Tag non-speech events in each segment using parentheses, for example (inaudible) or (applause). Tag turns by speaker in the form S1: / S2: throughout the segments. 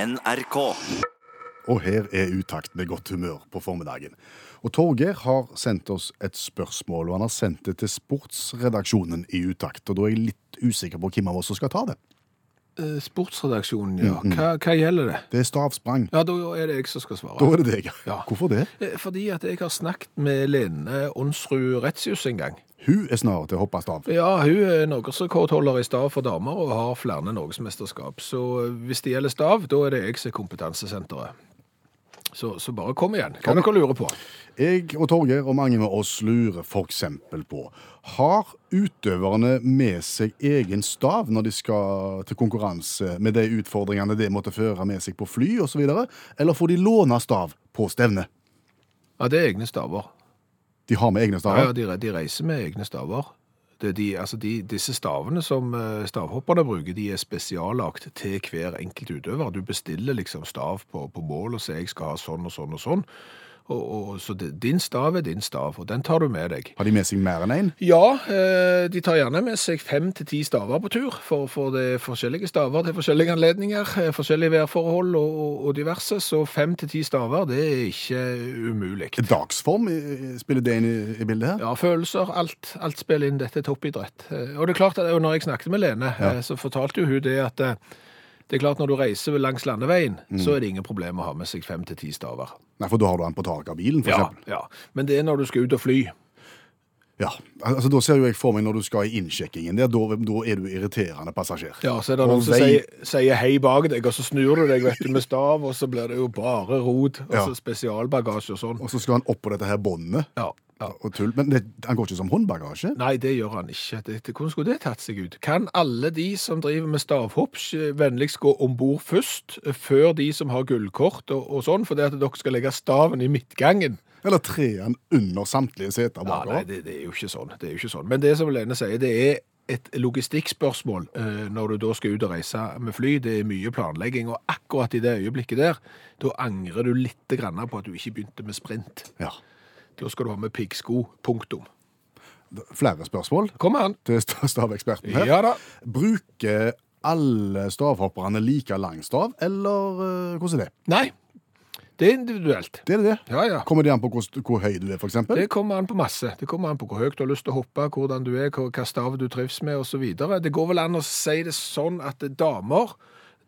S1: NRK.
S2: Og her er utakt med godt humør på formiddagen. Og Torgeir har sendt oss et spørsmål, og han har sendt det til sportsredaksjonen i utakt. Og da er jeg litt usikker på hvem av oss som skal ta det.
S3: Eh, Sportsredaksjonen, ja. Hva, hva gjelder det?
S2: Det er stavsprang.
S3: Ja, da er det jeg som skal
S2: Da
S3: svare.
S2: er det deg.
S3: Ja.
S2: Hvorfor det?
S3: Eh, Fordi at jeg har snakket med Lene Onsrud Retsius en gang.
S2: Hun er snarere til å hoppe stav.
S3: Ja, hun er norgesrekordholder i stav for damer og har flere norgesmesterskap. Så eh, hvis det gjelder stav, da er det jeg som er kompetansesenteret. Så, så bare kom igjen. Hva dere lurer på?
S2: Jeg og Torgeir og mange med oss lurer f.eks. på Har utøverne med seg egen stav når de skal til konkurranse, med de utfordringene det måtte føre med seg på fly osv., eller får de låne stav på stevne?
S3: Ja, det er egne staver.
S2: De har med egne
S3: Ja, ja
S2: staver?
S3: de, re- de reiser med egne staver. Det er de, altså de, disse stavene som eh, stavhopperne bruker, de er spesiallagt til hver enkelt utøver. Du bestiller liksom stav på, på mål og sier jeg skal ha sånn og sånn og sånn. Og, og, så det, din stav er din stav, og den tar du med deg.
S2: Har de med seg mer enn én?
S3: Ja, eh, de tar gjerne med seg fem til ti staver på tur, for, for det er forskjellige staver til forskjellige anledninger, eh, forskjellige værforhold og, og, og diverse, så fem til ti staver, det er ikke umulig.
S2: Dagsform eh, spiller det inn i, i bildet her?
S3: Ja, følelser, alt, alt spiller inn. Dette er toppidrett. Eh, Og det er klart at og når jeg snakket med Lene, eh, så fortalte jo hun det at eh, det er klart når du reiser langs landeveien,
S2: Mm.
S3: så er det ingen problem å ha med seg fem til ti staver.
S2: Nei, for da har du den på taket av bilen, for
S3: Ja,
S2: eksempel.
S3: ja. Men det er når du skal ut og fly.
S2: Ja. Altså, da ser jo jeg for meg når du skal i innsjekkingen der, da, da er du irriterende passasjer.
S3: Ja, så er det
S2: Og
S3: noen som
S2: vei-
S3: sier, sier hei bak deg, og så snur du deg vet du, med stav, og så blir det jo bare rot. Og
S2: Ja.
S3: så spesialbagasje og sånn.
S2: Og så skal han oppå dette her båndet
S3: Ja, ja.
S2: og tull. Men det, han går ikke som håndbagasje?
S3: Nei, det gjør han ikke. Det, det, hvordan skulle det tatt seg ut? Kan alle de som driver med stavhopp, eh, vennligst gå om bord først, eh, før de som har gullkort og, og sånn, fordi at dere skal legge staven i midtgangen?
S2: Eller tre han under samtlige seter
S3: Ja,
S2: bakover?
S3: nei, det, det er jo ikke sånn. Det er jo ikke sånn. Men det som Lene sier, det er et logistikkspørsmål eh, når du da skal ut og reise med fly. Det er mye planlegging, og akkurat i det øyeblikket der, da angrer du litt grann på at du ikke begynte med sprint.
S2: Ja.
S3: Da skal du ha med piggsko. Punktum.
S2: Flere spørsmål
S3: Kom an!
S2: til st- staveksperten her.
S3: Ja da.
S2: Bruker alle stavhopperne like lang stav, eller eh, hvordan er det?
S3: Nei, det er individuelt.
S2: Det er det.
S3: Ja, ja.
S2: Kommer det an på hvor, hvor høy du er, for eksempel?
S3: Det kommer an på masse. Det kommer an på hvor høyt du har lyst til å hoppe, hvordan du er, hva hva stav du trives med osv. Det går vel an å si det sånn at damer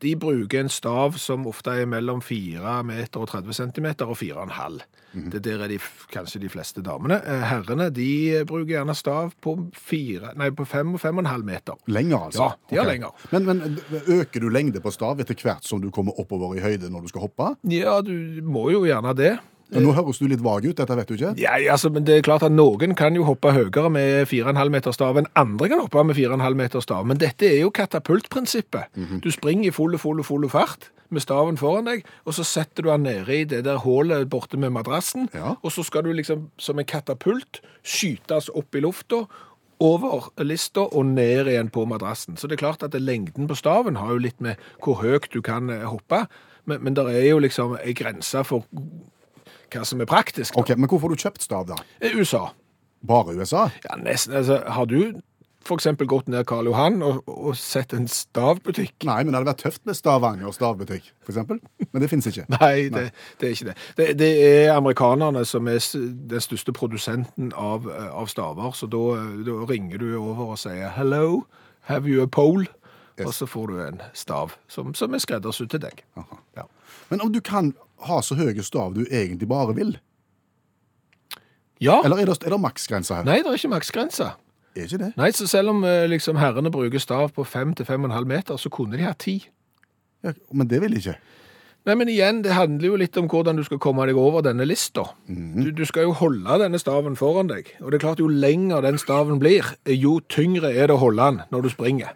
S3: de bruker en stav som ofte er mellom 4 meter og 30 centimeter og 4,5. Det der er de, f- kanskje de fleste damene. Eh, Herrene de bruker gjerne stav på, fire, nei, på 5 og 5,5 meter.
S2: Lenger, altså?
S3: Ja, de er
S2: Ok.
S3: lenger.
S2: Men, men øker du lengde på stav etter hvert som du kommer oppover i høyde når du skal hoppe?
S3: Ja, du må jo gjerne det.
S2: Men Nå høres du litt vag ut, dette vet du ikke?
S3: Eh, Ja, altså, men det er klart at Noen kan jo hoppe høyere med 4,5 meter stav enn andre kan hoppe med 4,5 meter stav. Men dette er jo katapultprinsippet. Du springer i full, full, full fart med staven foran deg, og så setter du den nede i det der hålet borte med madrassen,
S2: Ja.
S3: og så skal du liksom som en katapult skytes opp i lufta, over lista og ned igjen på madrassen. Så det er klart at det- lengden på staven har jo litt med hvor høyt du kan eh, hoppe, men, men det er jo liksom en grense for hva som er praktisk. da.
S2: Ok, Men hvor får du kjøpt stav, da?
S3: Eh, USA.
S2: Bare USA?
S3: Ja, nesten. Altså, har du for eksempel gått ned Karl Johan og, og sett en stavbutikk?
S2: Nei, men det hadde vært tøft med Stavanger stavbutikk, for eksempel. Men det fins ikke.
S3: Nei, det, det er ikke det. det. Det er amerikanerne som er s- den største produsenten av, eh, av staver, så da, eh, da ringer du over og sier «Hello, have you a pole?» Og så får du en stav som, som er skreddersydd til deg. Ja.
S2: Men om du kan ha så høye stav du egentlig bare vil,
S3: ja.
S2: eller er det, er det maksgrense her?
S3: Nei, det er ikke maksgrense.
S2: Er ikke det?
S3: Nei, så selv om eh, liksom, herrene bruker stav på 5-5,5 meter, så kunne de ha 10.
S2: Ja, men det vil jeg ikke. (laughs)
S3: Nei, men igjen, det handler jo litt om hvordan du skal komme deg over denne lista.
S2: Mhm.
S3: Du, du skal jo holde denne staven foran deg, og det er klart jo lenger den staven blir, jo tyngre er det å holde den når du springer.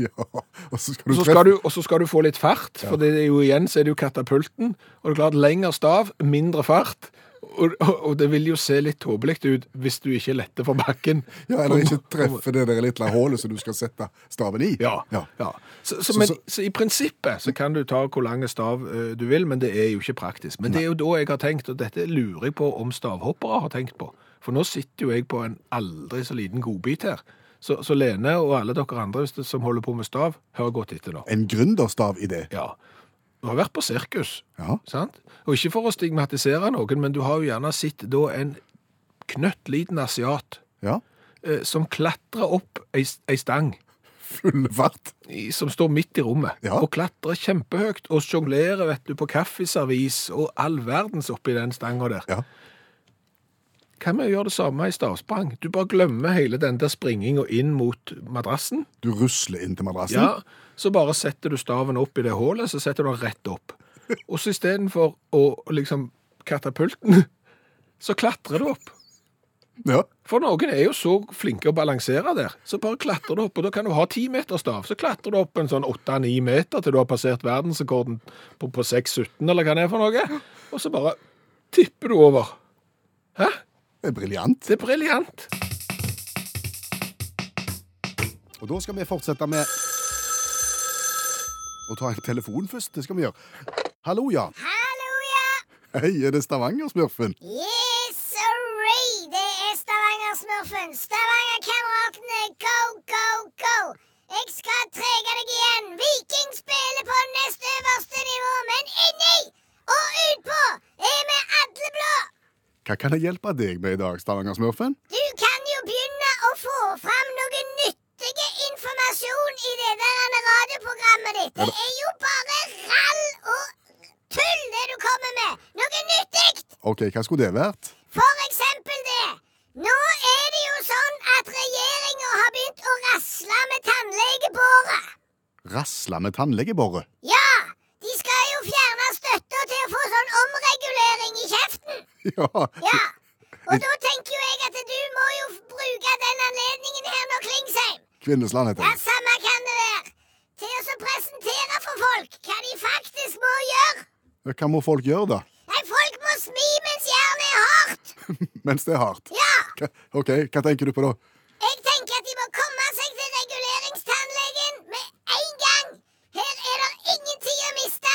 S2: Ja, og så skal
S3: Og
S2: du
S3: så
S2: treffe
S3: skal du, og så skal du få litt fart, for det er jo igjen så er det jo katapulten, og det er klart lengre stav, mindre fart, og, og, og det vil jo se litt tåbelikt ut hvis du ikke letter for bakken.
S2: ja, Eller ikke treffe det der lille hullet som du skal sette staven i.
S3: Ja.
S2: ja.
S3: ja. Så, så,
S2: Så-
S3: men,
S2: så-
S3: så, i prinsippet så kan du ta hvor lang stav eh, du vil, men det er jo ikke praktisk. Men det er jo da jeg har tenkt, og dette lurer jeg på om stavhoppere har tenkt på. For nå sitter jo jeg på en aldri så liten godbit her. Så, så Lene og alle dere andre hvis det- som holder på med stav, hør godt etter nå.
S2: En gründerstav i det.
S3: Ja. Du har vært på sirkus,
S2: Ja.
S3: sant? Og ikke for å stigmatisere noen, men du har jo gjerne sett da en knøttliten asiat
S2: ja.
S3: eh, som klatrer opp ei, ei stang
S2: Full fart.
S3: i- som står midt i rommet,
S2: Ja.
S3: og klatrer kjempehøyt og sjonglerer vet du, på kaffeservis og all verdens oppi den stanga der.
S2: Ja.
S3: Kan vi gjøre det samme i stavsprang? Du bare glemmer hele den der springinga inn mot madrassen.
S2: Du rusler inn til madrassen.
S3: Ja, så bare setter du staven opp i det hålet, så setter du den rett
S2: (laughs)
S3: opp. Og så istedenfor å liksom katapulten, så klatrer du opp.
S2: Ja.
S3: For noen er jo så flinke å balansere der. Så bare klatrer du opp, og da kan du ha ti meter stav. Så klatrer du opp en sånn åtte-ni meter til du har passert verdensrekorden på, på 6,17 eller hva det er for noe. Og så bare tipper du over. Hæ?
S2: Det er briljant.
S3: Det er briljant.
S2: Og da skal vi fortsette med å ta en telefon først. Det skal vi gjøre. Hallo, ja.
S1: Hallo, ja!
S2: Hei, er det Stavanger-smurfen?
S1: Yes, sorry! Det er Stavanger-smurfen. Stavanger-kameratene, go, go, go! Jeg skal trege deg igjen. Viking spiller på nest øverste nivå, men inni og utpå er vi alle blå.
S2: Hva kan jeg hjelpe deg med i dag, Stavanger-smurfen?
S1: Du kan jo begynne å få fram noe nyttige informasjon i det der radioprogrammet ditt. Det er jo bare rall og tull, det du kommer med. Noe nyttig!
S2: OK, hva skulle det vært?
S1: For eksempel det. Nå er det jo sånn at regjeringa har begynt å rasle med tannlegebåret.
S2: Rasle med tannlegebåret.
S1: Ja, de skal jo fjerne støtta til å få sånn omregulering i kjeften.
S2: Ja.
S1: Ja. Og da tenker jo jeg at du må jo bruke den anledningen her nå, Klingsheim.
S2: Kvinnesland heter
S1: Ja,
S2: det.
S1: samme kan det være. Til å så presentere for folk hva de faktisk må gjøre.
S2: Hva må folk gjøre, da? (laughs)
S1: Nei, folk må smi mens jernet er hardt.
S2: Mens det er hardt.
S1: Ja.
S2: Hva- OK, hva tenker du på da?
S1: Jeg tenker at de må komme seg til reguleringstannlegen med en gang. Her er det ingen tid å miste.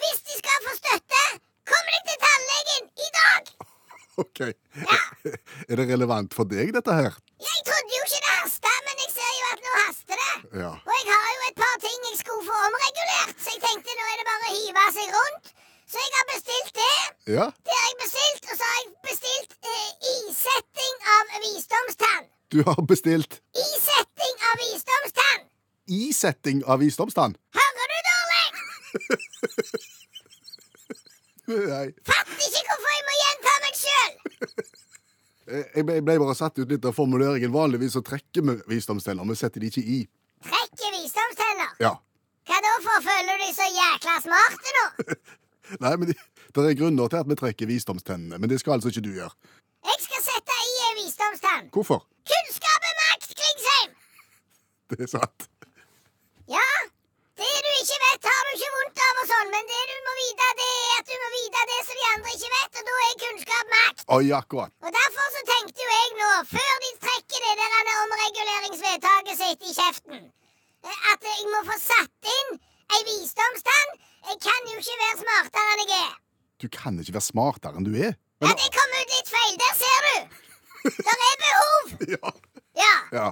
S1: Hvis de skal få støtte, kom deg til tannlegen i dag.
S2: OK. (laughs) Er det relevant for deg, dette her?
S1: Jeg trodde jo ikke det hasta, men jeg ser jo at nå haster det.
S2: Ja.
S1: Og jeg har jo et par ting jeg skulle få omregulert, så jeg tenkte nå er det bare å hive seg rundt. Så jeg har bestilt det.
S2: Ja?
S1: Det har jeg bestilt, og så har jeg bestilt eh, isetting av visdomstann.
S2: Du har bestilt
S1: Isetting av visdomstann.
S2: isetting av visdomstann.
S1: Hører du dårlig?
S2: (laughs) Nei,
S1: Fatter ikke hvorfor jeg må gjenta meg sjøl!
S2: Jeg ble jeg ble bare satt ut litt av formuleringen. Vanligvis så trekker vi visdomstenner, vi setter de ikke i.
S1: Trekker visdomstenner.
S2: Ja.
S1: Hva da for føler du deg så jækla smart nå?
S2: Nei, men det, det er grunner til at vi trekker visdomstennene, men det skal altså ikke du gjøre.
S1: Jeg skal sette i ei visdomstann.
S2: Hvorfor? (laughs)
S1: Kunnskap er makt, Klingsheim!
S2: Det er sant.
S1: Ja, det du ikke vet, har du ikke vondt av og sånn, men det du må vite, det er at du må vite det som de andre ikke vet, og da er kunnskap makt.
S2: Oi, akkurat.
S1: Og derfor så tenkte jo jeg nå, før de trekker det der andre omreguleringsvedtaket sitt i kjeften, eh, at jeg må få satt inn ei visdomstann. Jeg kan jo ikke være smartere enn jeg er.
S2: Du kan ikke være smartere enn du er.
S1: Ja, det kom ut litt feil. Der ser du! Der er
S2: (laughs)
S1: behov!
S2: Ja.
S1: Ja.
S2: ja.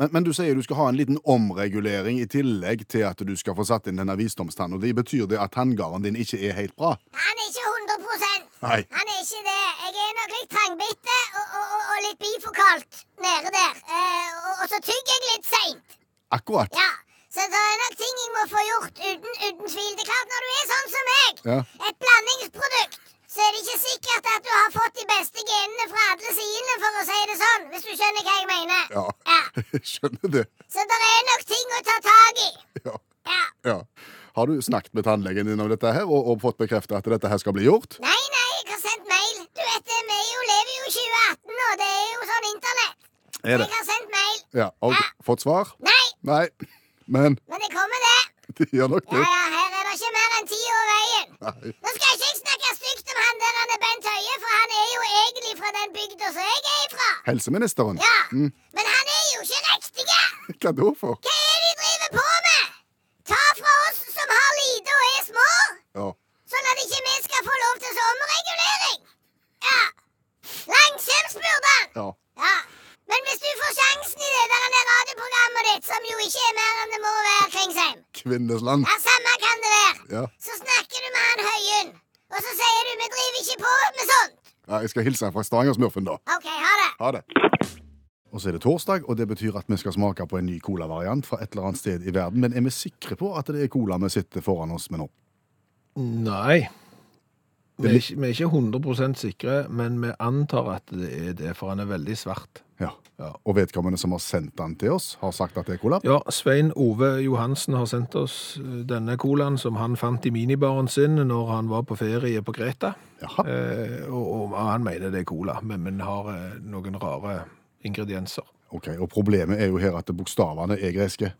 S2: Men, men du sier du skal ha en liten omregulering i tillegg til at du skal få satt inn denne visdomstannen, og det betyr det at tanngarden din ikke er helt bra?
S1: Han er ikke 100
S2: Nei.
S1: Han er ikke det. Jeg er nok litt trangbitte og, og, og- og litt bifokalt nede der. Eh, og, og så tygger jeg litt seint.
S2: Akkurat.
S1: Ja. Så det er nok ting jeg må få gjort uten, uten tvil. Det er klart, når du er sånn som meg,
S2: Ja.
S1: et blandingsprodukt, så er det ikke sikkert at du har fått de beste genene fra alle sidene, for å si det sånn, hvis du skjønner hva jeg mener.
S2: Ja. (laughs)
S1: Ja.
S2: Jeg skjønner det.
S1: Så det er nok ting å ta tak i.
S2: Ja.
S1: Ja.
S2: ja. Har du snakket med tannlegen din om dette her, og, og fått bekreftet at dette her skal bli gjort?
S1: Nei, nei, jeg har sendt mail. Du vet, det, vi jo lever jo i 2018, og det er jo sånn internett.
S2: Er
S1: Jeg har sendt mail.
S2: Ja. Har du fått svar?
S1: Nei,
S2: Nei. Men
S1: men det kommer, det.
S2: det gjør nok
S1: Ja,
S2: det.
S1: ja, her er det ikke mer enn ti år veien.
S2: Nei.
S1: Nå skal ikke jeg snakke stygt om han der han er Bent Høie, for han er jo egentlig fra den bygda som jeg er ifra.
S2: Helseministeren?
S1: Ja, men han er jo ikke riktige.
S2: Hva da for?
S1: Hva er det de driver på med? Ta fra oss som har lite og er små,
S2: Ja.
S1: sånn at ikke vi skal få lov til så omregulering. Ja. Langskjems burde han.
S2: ja.
S1: Ja, Men hvis du får sjansen i det der det radioprogrammet ditt, som jo ikke er mer enn det må være, Kringsheim
S2: Kvinnesland?
S1: Ja, samme kan det være.
S2: Ja.
S1: Så snak Og så sier du vi driver ikke på med sånt.
S2: Ja, jeg skal hilse fra Stavanger-smurfen, da.
S1: OK, ha det.
S2: Ha det. Og så er det torsdag, og det betyr at vi skal smake på en ny colavariant fra et eller annet sted i verden. Men er vi sikre på at det er cola vi sitter foran oss med nå?
S3: Nei. Vi er, ikke, vi er ikke 100 sikre, men vi antar at det er det, for han er veldig svart.
S2: Ja. Og vedkommende som har sendt den til oss, har sagt at det er cola?
S3: Ja, Svein Ove Johansen har sendt oss eh, denne colaen som han fant i minibaren sin når han var på ferie på Greta.
S2: Jaha.
S3: Eh, og, og han mener det er cola, men, men har eh, noen rare ingredienser.
S2: Ok, Og problemet er jo her at bokstavene er greske.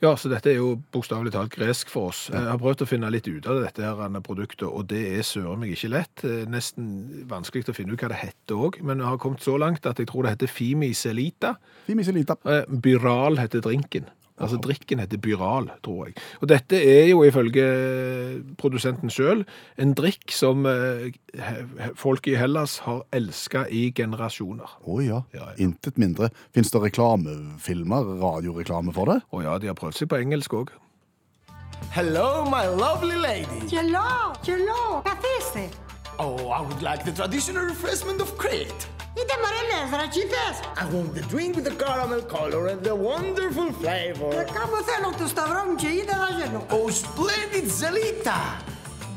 S3: Ja, så dette er jo bokstavelig talt gresk for oss. Eh, Jeg har prøvd å finne litt ut av dette her Anne, produktet, og det er søren meg ikke lett. Eh, Nesten vanskelig å finne ut hva det heter òg, men jeg har kommet så langt at jeg tror det heter Fimi Selita.
S2: Fimiselita.
S3: Eh, Byral heter drinken. Altså drikken heter Byral, tror jeg. Og dette er jo ifølge produsenten sjøl en drikk som eh, he- he- folk i Hellas har elska i generasjoner.
S2: Å ja.
S3: Ja, ja.
S2: Intet mindre. Fins det reklamefilmer, radioreklame for det?
S3: Og ja, de har prøvd seg på engelsk òg.
S4: Hello, my lovely lady.
S5: Hello, hello, Café este.
S4: Oh, I would like the traditional refreshment of Crete.
S5: Y te mareles, rachites.
S4: I want the drink with the caramel color and the wonderful flavor.
S5: Cabo celo tu stavrom che ide la geno.
S4: Oh, splendid Zelita!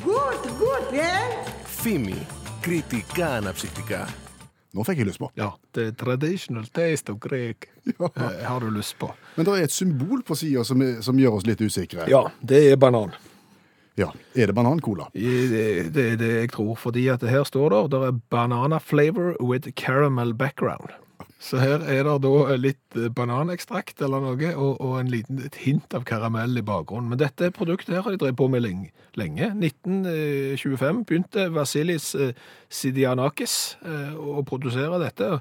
S5: Good, good, eh?
S6: Φίμη, κριτικά αναψυκτικά.
S2: Nå fikk jeg lyst på.
S3: Ja. The traditional taste of (laughs) Greek eh, har du lyst på.
S2: Men det er et symbol på sida som, er- som gjør oss litt usikre.
S3: Ja, det er banan.
S2: Ja. Er det banancola?
S3: Det det er det jeg tror, fordi at her står det, det er banana flavor with caramel background. Så her er det da litt eh, bananekstrakt eller noe, og, og en liten, et hint av karamell i bakgrunnen. Men dette produktet her har de drevet på med lenge. lenge. 1925 begynte Vasilis eh, Sidianakis eh, å produsere dette,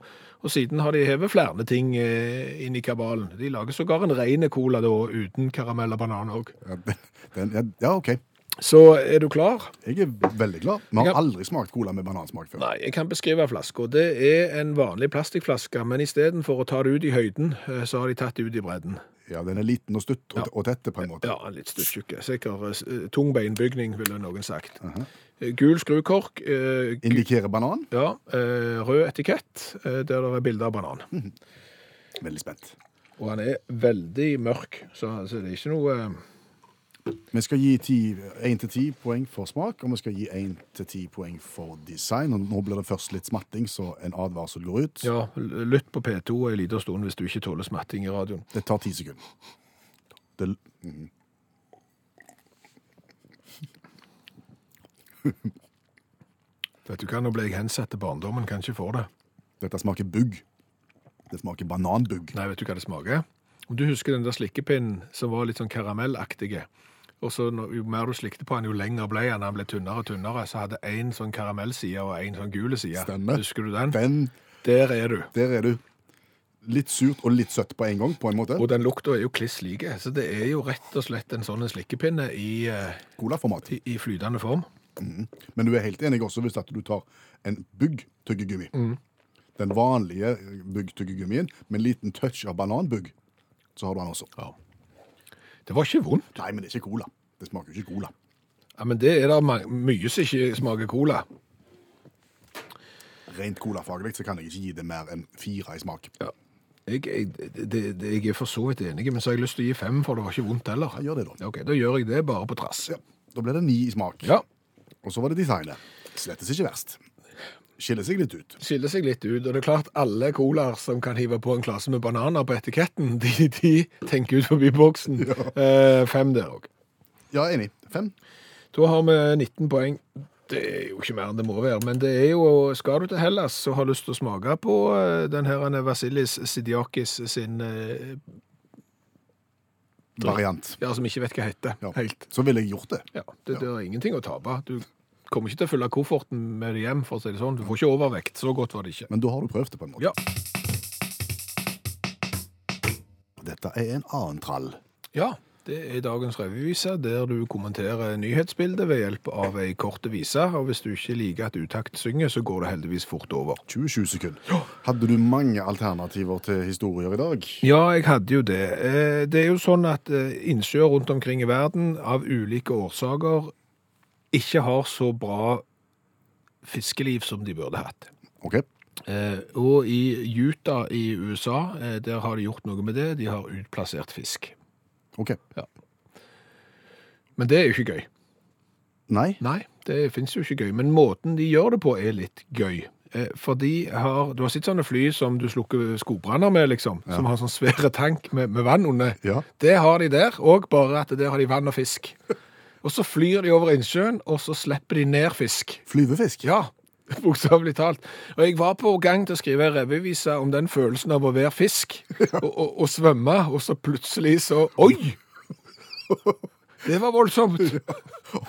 S3: og siden har de hevet flere ting eh, inn i kabalen. De lager sågar en reine cola da, uten karamell og banan òg.
S2: Ja, den- den- ja, ja, OK.
S3: Så er du klar?
S2: Jeg er veldig glad. Vi har
S3: Ja.
S2: aldri smakt cola med banansmak før.
S3: Nei, jeg kan beskrive flaska. Det er en vanlig plastikkflaske, men istedenfor å ta det ut i høyden, eh, så har de tatt det ut i bredden.
S2: Ja, Den er liten og stutt og, og tette, på en måte.
S3: Ja, en litt støttjukke. Sikkert eh, tung beinbygning, ville noen sagt. Eh, Gul skrukork, eh, gu-
S2: Indikerer banan.
S3: ja, eh, rød etikett, eh, der det er bilde av banan.
S2: Veldig spent.
S3: Og han er veldig mørk, så, så det er ikke noe eh,
S2: Vi skal gi ti- én til ti poeng for smak, og vi skal gi én til ti poeng for design. Og nå blir det først litt smatting, så en advarsel går ut.
S3: Ja, l- lytt på P2 en liten stund hvis du ikke tåler smatting i radioen.
S2: Det tar ti sekunder. Det, mhm.
S3: Vet du hva, nå ble jeg hensatt til barndommen, kan ikke få det.
S2: dette smaker bugg. Det smaker bananbugg.
S3: Nei, vet du hva det smaker? Om du husker den der slikkepinnen som var litt sånn karamellaktige, og så når, jo mer du slikte på han, jo lenger ble han, han ble tynnere og tynnere, så hadde en sånn karamellside og en sånn gule side.
S2: Stemmer.
S3: Husker du den?
S2: Den,
S3: Der er du.
S2: der er du. Litt surt og litt søtt på en gang, på en måte.
S3: Og den lukta er jo kliss like, så det er jo rett og slett en sånn slikkepinne i, eh,
S2: Colaformat.
S3: i, i flytende form.
S2: Men du er helt enig også hvis at du tar en bugg-tyggegummi.
S3: Mm.
S2: Den vanlige bugg-tyggegummien med en liten touch av bananbugg, så har du den også.
S3: Ja. Det var ikke vondt.
S2: Nei, men det er ikke cola. Det smaker jo ikke cola.
S3: Ja, men det er det ma- mye som ikke smaker cola.
S2: Rent colafaglig så kan jeg ikke gi det mer enn fire i smak.
S3: Ja. Jeg, jeg, det, det, jeg er for så vidt enig, men så har jeg lyst til å gi fem, for det var ikke vondt heller.
S2: Ja, gjør det da.
S3: Ja, Ok, da gjør jeg det bare på trass.
S2: Ja, Da ble det ni i smak.
S3: Ja,
S2: Og så var det designet. Slettes ikke verst. Skiller seg litt ut.
S3: skiller seg litt ut, og det er klart alle colaer som kan hive på en klasse med bananer på etiketten, (laughs) de, de tenker ut forbi boksen. Eh, fem der òg.
S2: Ja, enig. Fem.
S3: Da har vi 19 poeng. Det er jo ikke mer enn det må være, men det er jo, skal du til Hellas og har lyst til å smake på eh, den her eh, Vasilis Sidiakis sin, eh,
S2: Variant.
S3: ja, som ikke vet hva heter,
S2: Ja.
S3: helt.
S2: Så ville jeg gjort det.
S3: Ja, det, det er ingenting å tape. Du kommer ikke til å fylle kofferten med det hjem, for å si det sånn. Du får ikke overvekt. Så godt var det ikke.
S2: Men da har du prøvd det på en måte.
S3: Ja,
S2: Dette er en annen trall.
S3: ja det er dagens revyvise, der du kommenterer nyhetsbildet ved hjelp av ei kort vise. Og hvis du ikke liker at utakt synger, så går det heldigvis fort over.
S2: 27 sekunder. Hadde du mange alternativer til historier i dag?
S3: Ja, jeg hadde jo det. Eh, Det er jo sånn at eh, innsjøer rundt omkring i verden av ulike årsaker ikke har så bra fiskeliv som de burde hatt.
S2: OK.
S3: Eh, og i Utah i USA, eh, der har de gjort noe med det. De har utplassert fisk.
S2: ok.
S3: Men det er jo ikke gøy.
S2: Nei.
S3: Nei, det fins jo ikke gøy. Men måten de gjør det på, er litt gøy. Eh, For de har Du har sett sånne fly som du slukker skogbranner med, liksom. Som har sånn svære tank med, med vann under.
S2: Ja.
S3: Det har de der òg, bare at der har de vann og fisk. Og så flyr de over innsjøen, og så slipper de ned fisk.
S2: Flyvefisk?
S3: (laughs) Ja, bokstavelig talt. Og jeg var på gang til å skrive en revyvise om den følelsen av å være
S2: (laughs)
S3: fisk og, og, og svømme, og så plutselig så Oi! Det
S2: (laughs)
S3: var voldsomt.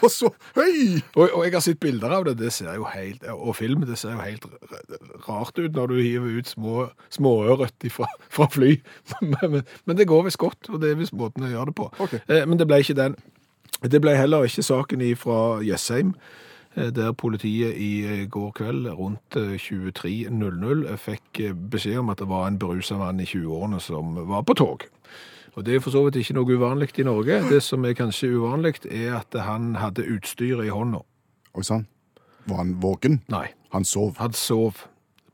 S2: Og så Hei!
S3: Og, og jeg har sett bilder av det, det ser jo helt, og film, det ser jo helt r- rart ut når du hiver ut små, småørret fra, fra fly. (laughs) men, men, men det går visst godt, og det er visst måten å gjøre det på.
S2: Ok.
S3: Eh, men det ble ikke den. Det ble heller ikke saken fra Jessheim, eh, der politiet i eh, går kveld rundt eh, 23.00 fikk eh, beskjed om at det var en beruset mann i 20-årene som var på tog. Og Det er for så vidt ikke noe uvanlig i Norge. Det som er kanskje uvanlig, er at han hadde utstyret i hånda.
S2: Oi sann. Var han våken?
S3: Nei,
S2: Han sov.
S3: han sov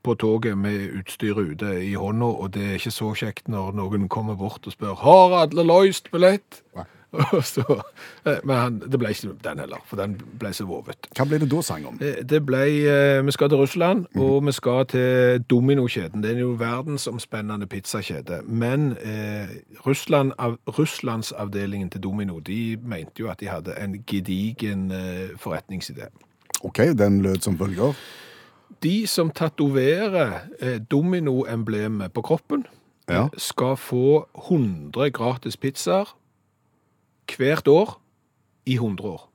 S3: på toget med utstyret ute i hånda, og det er ikke så kjekt når noen kommer bort og spør «Har alle løst billett?»
S2: Nei.
S3: (laughs) Og så, eh, Men han, det ble ikke den heller, for den ble så vovet.
S2: Hva ble det da sang om?
S3: Eh, Det ble, eh, vi skal til Russland, og vi skal til Domino-kjeden. Det er jo verdensomspennende pizzakjede. Men eh, Russland, av, Russlandsavdelingen til Domino, de mente jo at de hadde en gedigen eh, forretningsidé.
S2: OK, den lød som følger.
S3: De som tatoverer eh, dominoemblemet på kroppen,
S2: Ja.
S3: skal få 100 gratis pizzaer hvert år i 100 år.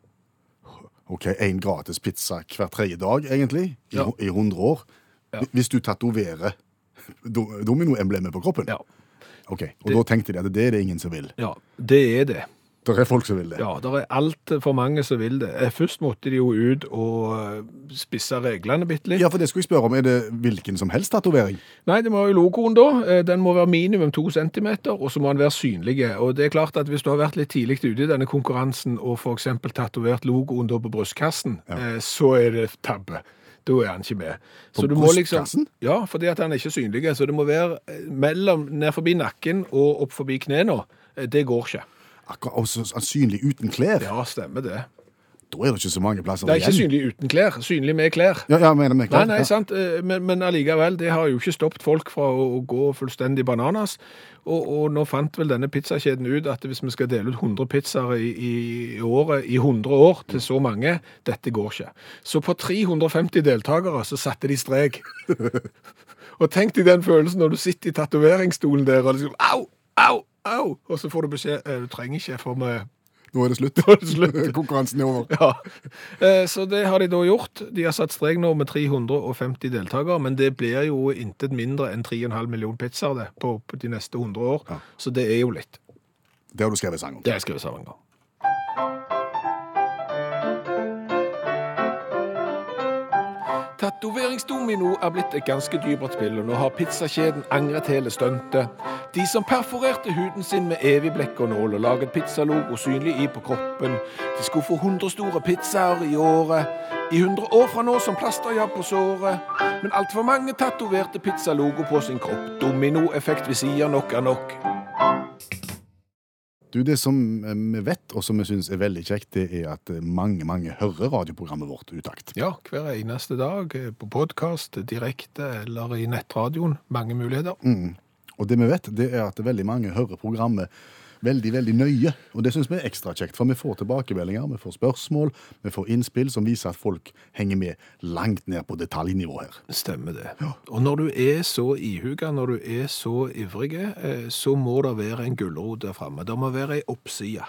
S2: OK, én gratis pizza hver tredje dag, egentlig, i,
S3: Ja.
S2: i 100 år.
S3: Ja.
S2: Hvis du tatoverer do- dominoemblemet på kroppen?
S3: Ja.
S2: Ok, Og da tenkte de at det er det ingen som vil.
S3: ja, det er det.
S2: Det er folk som vil det.
S3: Ja, det er altfor mange som vil det. Eh, Først måtte de jo ut og eh, spisse reglene bitte litt.
S2: Ja, for det skulle jeg spørre om. Er det hvilken som helst tatovering?
S3: Nei, det må jo logoen da. Eh, Den må være minimum to centimeter, og så må den være synlig. Og det er klart at hvis du har vært litt tidlig ute i denne konkurransen og for eksempel tatovert logoen da på brystkassen, eh, så er det tabbe. Da er han ikke med.
S2: På
S3: Så du må liksom-
S2: brystkassen?
S3: ja, fordi at han er ikke synlig. Så det må være eh, mellom, ned forbi nakken og opp forbi knærne. Eh, Det går ikke.
S2: Akkurat, og så Synlig uten klær?
S3: Ja, stemmer det.
S2: Da er det ikke så mange plasser
S3: Det er ikke
S2: igjen.
S3: synlig uten klær. Synlig med klær.
S2: Ja, ja, mener med
S3: Nei,
S2: klær.
S3: nei,
S2: Ja.
S3: sant, eh, men, men allikevel, det har jo ikke stoppet folk fra å, å gå fullstendig bananas. Og, og nå fant vel denne pizzakjeden ut at hvis vi skal dele ut 100 pizzaer i, i, i året i 100 år til så mange, dette går ikke. Så på 350 deltakere så satte de strek. og tenk deg den følelsen når du sitter i tatoveringsstolen der og liksom au, au, au, og så får du beskjed eh, du trenger ikke for meg.
S2: Nå er det
S3: (laughs)
S2: slutt. (laughs) Konkurransen er over.
S3: Ja, Eh, så det har de da gjort. De har satt strek nå med 350 deltakere, men det blir jo intet mindre enn 3,5 millioner pizzaer det, på, på de neste 100 år. Så det er jo litt.
S2: Det har du skrevet sang om.
S3: Det har jeg skrevet sammen om. Tatoveringsdomino er blitt et ganske dyrbart spill, og nå har pizzakjeden angret hele stuntet. De som perforerte huden sin med evig blekk og nål og laget pizzalogo synlig i på kroppen, de skulle få 100 store pizzaer i året. I 100 år fra nå som plasterjabb på såret. Men altfor mange tatoverte pizzalogo på sin kropp. Dominoeffekt vi sier nok er nok.
S2: Du, Det som eh, vi vet, og som vi syns er veldig kjekt, det er at eh, mange mange hører radioprogrammet vårt Utakt.
S3: Ja, hver eneste dag. eh, På podkast, direkte eller i nettradioen. Mange muligheter.
S2: Og det vi vet, det er at veldig mange hører programmet veldig veldig nøye. Og det syns vi er ekstra kjekt, for vi får tilbakemeldinger, vi får spørsmål, vi får innspill som viser at folk henger med langt ned på detaljnivå her. (laughs)
S3: Stemmer det. Og når du er så ihuga, når du er så ivrig, eh, så må det være en gulrot der framme. Det må være ei oppside.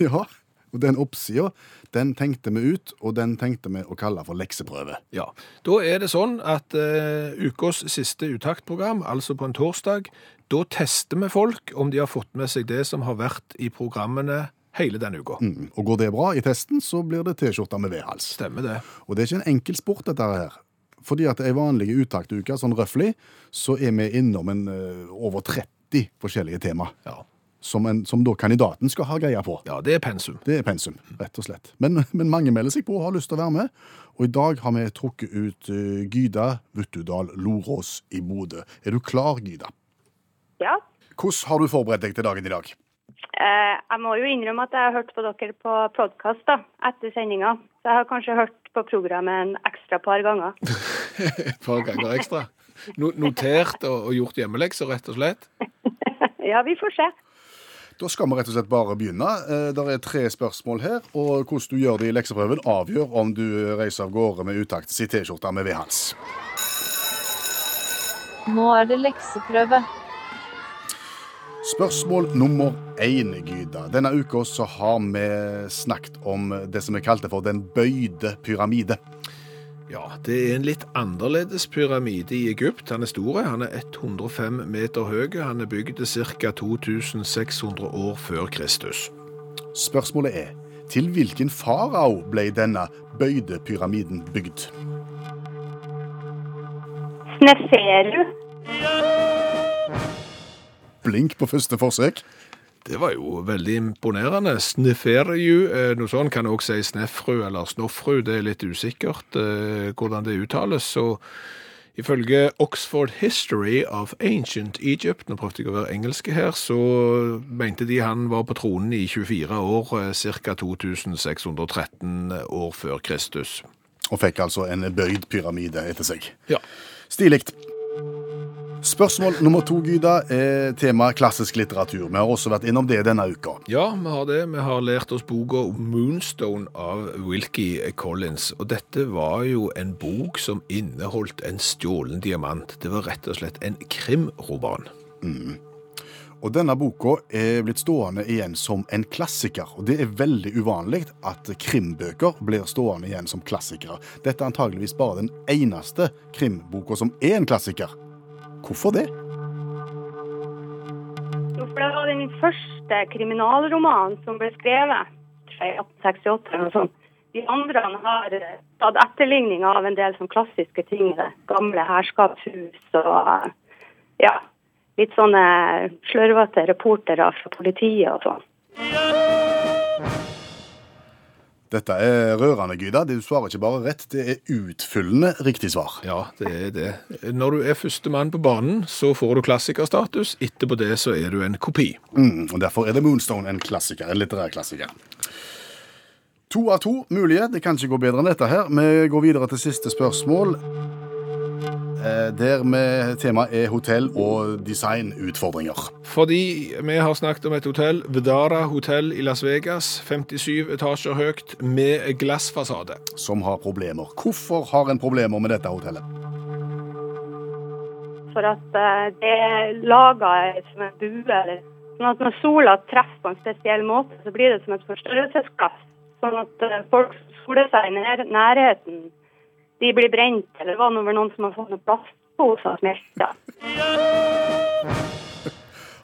S2: Ja, og den oppsida, den tenkte vi ut, og den tenkte vi å kalle for lekseprøve.
S3: Ja. Da er det sånn at eh, ukas siste utaktprogram, altså på en torsdag, da tester vi folk om de har fått med seg det som har vært i programmene hele denne uka.
S2: Og går det bra i testen, så blir det T-skjorte med V-hals.
S3: Stemmer det.
S2: Og det er ikke en enkel sport, dette her. Fordi at ei vanlig utaktuke, sånn røfflig, så er vi innom en eh, over 30 forskjellige tema.
S3: Ja.
S2: som, en, som da kandidaten skal ha greie på.
S3: Ja, det er pensum.
S2: Det er pensum, rett og slett. Men, (laughs) men mange melder seg på og har lyst til å være med. Og i dag har vi trukket ut eh, Gyda Vuttudal Lorås i Bodø. Er du klar, Gyda?
S7: Ja.
S2: Hvordan har du forberedt deg til dagen i dag?
S7: Eh, jeg må jo innrømme at jeg har hørt på dere på podkast da, etter sendinga. Så jeg har kanskje hørt på programmet en ekstra par ganger.
S3: Et par ganger ekstra. No notert og, og gjort hjemmelekser, rett og slett.
S7: ja, vi får se.
S2: Da skal vi rett og slett bare begynne. Det er tre spørsmål her, og hvordan du gjør det i lekseprøven avgjør om du reiser av gårde med utakt i T-skjorta med V-hals.
S8: Nå er det lekseprøve.
S2: Spørsmål nummer én, Gyda. Denne uka så har vi snakket om det som vi kalte for den bøyde pyramide.
S3: Ja, det er en litt annerledes pyramide i Egypt. Han er stor, han er 105 meter høy. Han er bygd ca. 2600 år før Kristus.
S2: Spørsmålet er til hvilken farao ble denne bøyde pyramiden bygd?
S7: Sneferu.
S2: Blink på første forsøk.
S3: Det var jo veldig imponerende. Sneferju, eh, noe sånt kan også si snefru eller snoffru, det er litt usikkert eh, hvordan det uttales. Så ifølge Oxford History of Ancient Egypt, nå prøvde jeg å være engelske her, så mente de han var på tronen i 24 år, eh, ca. 2613 år før Kristus.
S2: Og fikk altså en bøyd pyramide etter seg.
S3: Ja.
S2: Stilig. Spørsmål nummer to, Gyda, er tema klassisk litteratur. Vi har også vært innom det denne uka.
S3: Ja, vi har det. Vi har lært oss boka 'Moonstone' av Wilkie Collins. Og dette var jo en bok som inneholdt en stjålen diamant. Det var rett og slett en krimroman.
S2: Og denne boka er blitt stående igjen som en klassiker. Og det er veldig uvanlig at krimbøker blir stående igjen som klassikere. Dette er antageligvis bare den eneste krimboka som er en klassiker. Hvorfor det?
S7: Jo, for det var den første kriminalromanen som ble skrevet tror jeg, i 1868 eller noe sånt. De andre har eh, tatt etterligninger av en del sånn klassiske ting. det Gamle herskapshus og eh, ja, litt sånne slørvete reportere fra politiet og sånn.
S2: Dette er rørende, Gyda. Du svarer ikke bare rett, det er utfyllende riktig svar.
S3: Ja, det er det. Når du er førstemann på banen, så får du klassikerstatus. Etterpå det så er du en kopi.
S2: Mm, og Derfor er The Moonstone en klassiker, en litterær klassiker. To av to mulige. Det kan ikke gå bedre enn dette her. Vi går videre til siste spørsmål. Eh, Der med temaet er hotell- og designutfordringer.
S3: Fordi vi har snakket om et hotell, Vedara hotell i Las Vegas. 57 etasjer høyt, med glassfasade.
S2: Som har problemer. Hvorfor har en problemer med dette hotellet?
S7: For at eh, det er laga som en bue. Eller, sånn at når sola treffer på en spesiell måte, så blir det som et forstørrelsesglass. Sånn at eh, folk som soler seg i nær nærheten, de blir brent. Eller det var nå vel noen som har fått noen plastposer smelta.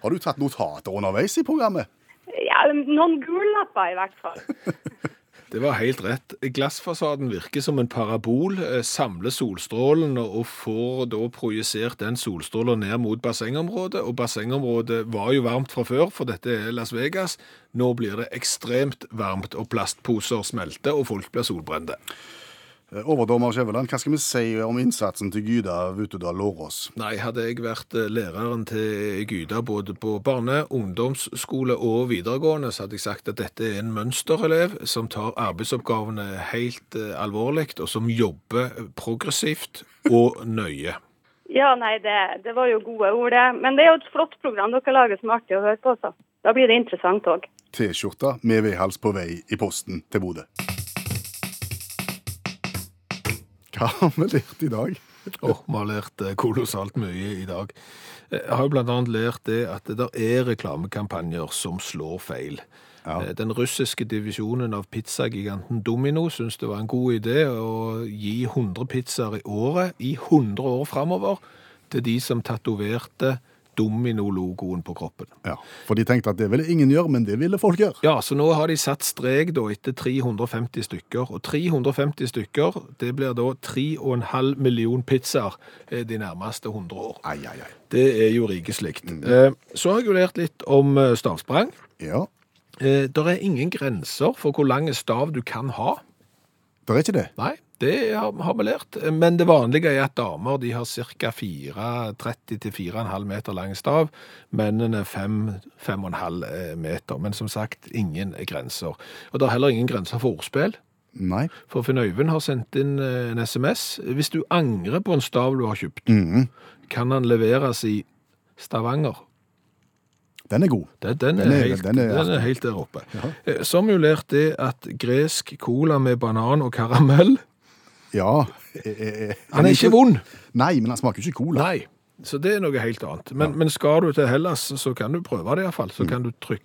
S2: Har du tatt notater underveis i programmet?
S7: Ja, noen gullapper i hvert fall.
S3: Det var helt rett. Glassfasaden virker som en parabol, eh, samler solstrålen og og får da projisert den solstrålen ned mot bassengområdet. Og bassengområdet var jo varmt fra før, for dette er Las Vegas. Nå blir det ekstremt varmt, og plastposer smelter, og folk blir solbrente.
S2: Eh, Overdommer Skjæveland, hva skal vi si om innsatsen til Gyda Vutudal Lårås?
S3: Nei, hadde jeg vært eh, læreren til Gyda både på barne-, ungdomsskole og videregående, så hadde jeg sagt at dette er en mønsterelev som tar arbeidsoppgavene helt eh, alvorlig, og som jobber progressivt og nøye.
S7: Ja, nei, det, det var jo gode ord, det. Men det er jo et flott program dere lager som er artig å høre på, så. Da blir det interessant òg.
S2: T-skjorta med vedhals på vei i posten til Bodø. Hva har vi lært i dag?
S3: Åh, vi har lært eh, kolossalt mye i dag. Eh, Jeg har jo blant annet lært det at det der er reklamekampanjer som slår feil. Eh, Den russiske divisjonen av pizzagiganten Domino syntes det var en god idé å gi 100 pizzaer i året i 100 år framover til de som tatoverte dominologoen på kroppen.
S2: Ja, For de tenkte at det ville ingen gjøre, men det ville folk gjøre.
S3: Ja, så nå har de satt strek da etter 350 stykker, og 350 stykker, det blir da 3,5 million pizzaer eh, de nærmeste 100 år.
S2: Ai, ai, Mm. ai.
S3: Det er jo rikeslikt. Eh, Så har jeg jo lært litt om eh, stavsprang.
S2: Ja,
S3: Eh, Der er ingen grenser for hvor lang stav du kan ha.
S2: det er ikke det.
S3: Nei, det har har vi lært. Eh, Men det vanlige er at damer de har ca. 30-4,5 meter lang stav. Mennene 5-5,5 eh, meter. Men som sagt, ingen grenser. Og det er heller ingen grenser for ordspill.
S2: Nei.
S3: For Finn Øyvind har sendt inn eh, en SMS. Hvis du angrer på en stav du har kjøpt,
S2: Mhm.
S3: kan den leveres i Stavanger.
S2: Den er god.
S3: Den, den, er,
S2: Den er-
S3: helt,
S2: den
S3: den,
S2: er
S3: er,
S2: artig.
S3: helt der oppe. Eh, Så har vi jo lært det at gresk cola med banan og karamell
S2: Ja. Eh, eh, eh.
S3: Han er ikke vond!
S2: Nei, men han smaker jo ikke cola.
S3: Nei. Så det er noe helt annet. Men, men skal du til Hellas, så kan du prøve det iallfall. Så kan du tryk,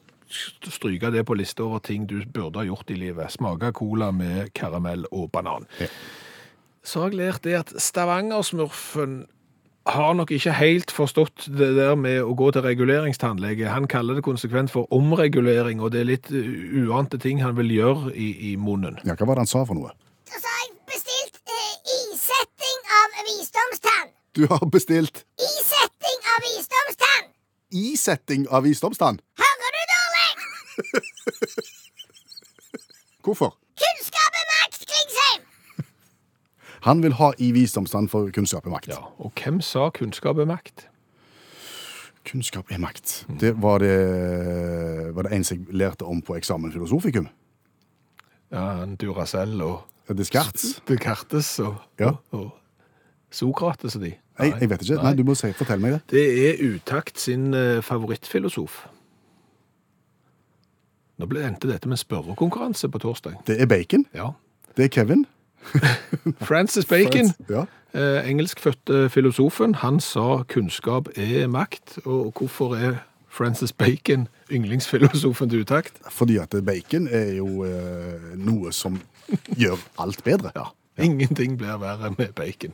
S3: stryke det på lista over ting du burde ha gjort i livet. Smake cola med karamell og banan.
S2: Ja.
S3: Så har jeg lært det at Stavanger-smurfen har nok ikke helt forstått det der med å gå til reguleringstannlege. Han kaller det konsekvent for omregulering, og det er litt uh, uante ting han vil gjøre i, i munnen.
S2: Ja, Hva var det han sa for noe?
S1: Og så har jeg bestilt eh, isetting av visdomstann.
S2: Du har bestilt
S1: Isetting av visdomstann!
S2: isetting av visdomstann.
S1: Hører du dårlig?
S2: Hvorfor?
S1: Kunnskap er makt, Klingsheim!
S2: Han vil ha i visdomstann for kunnskap er makt.
S3: Ja, Og hvem sa kunnskap er makt?
S2: Kunnskap er makt. Det var det, var det eneste jeg lærte om på eksamen filosofikum.
S3: Ja, en Duracell og
S2: Descartes.
S3: Descartes og,
S2: Ja.
S3: og Sokrates og de.
S2: Jeg, jeg vet ikke. Nei, du må si, fortell meg det.
S3: Det er Utakt sin eh, favorittfilosof. Nå ble endte dette med en spørrekonkurranse på torsdag.
S2: Det er bacon.
S3: Ja.
S2: Det er Kevin.
S3: Francis Bacon,
S2: Ja.
S3: eh, engelskfødte filosofen, han sa kunnskap er makt. Og hvorfor er Francis Bacon yndlingsfilosofen til Utakt?
S2: Fordi at bacon er jo eh, noe som gjør alt bedre.
S3: Ja. Ingenting blir verre med bacon.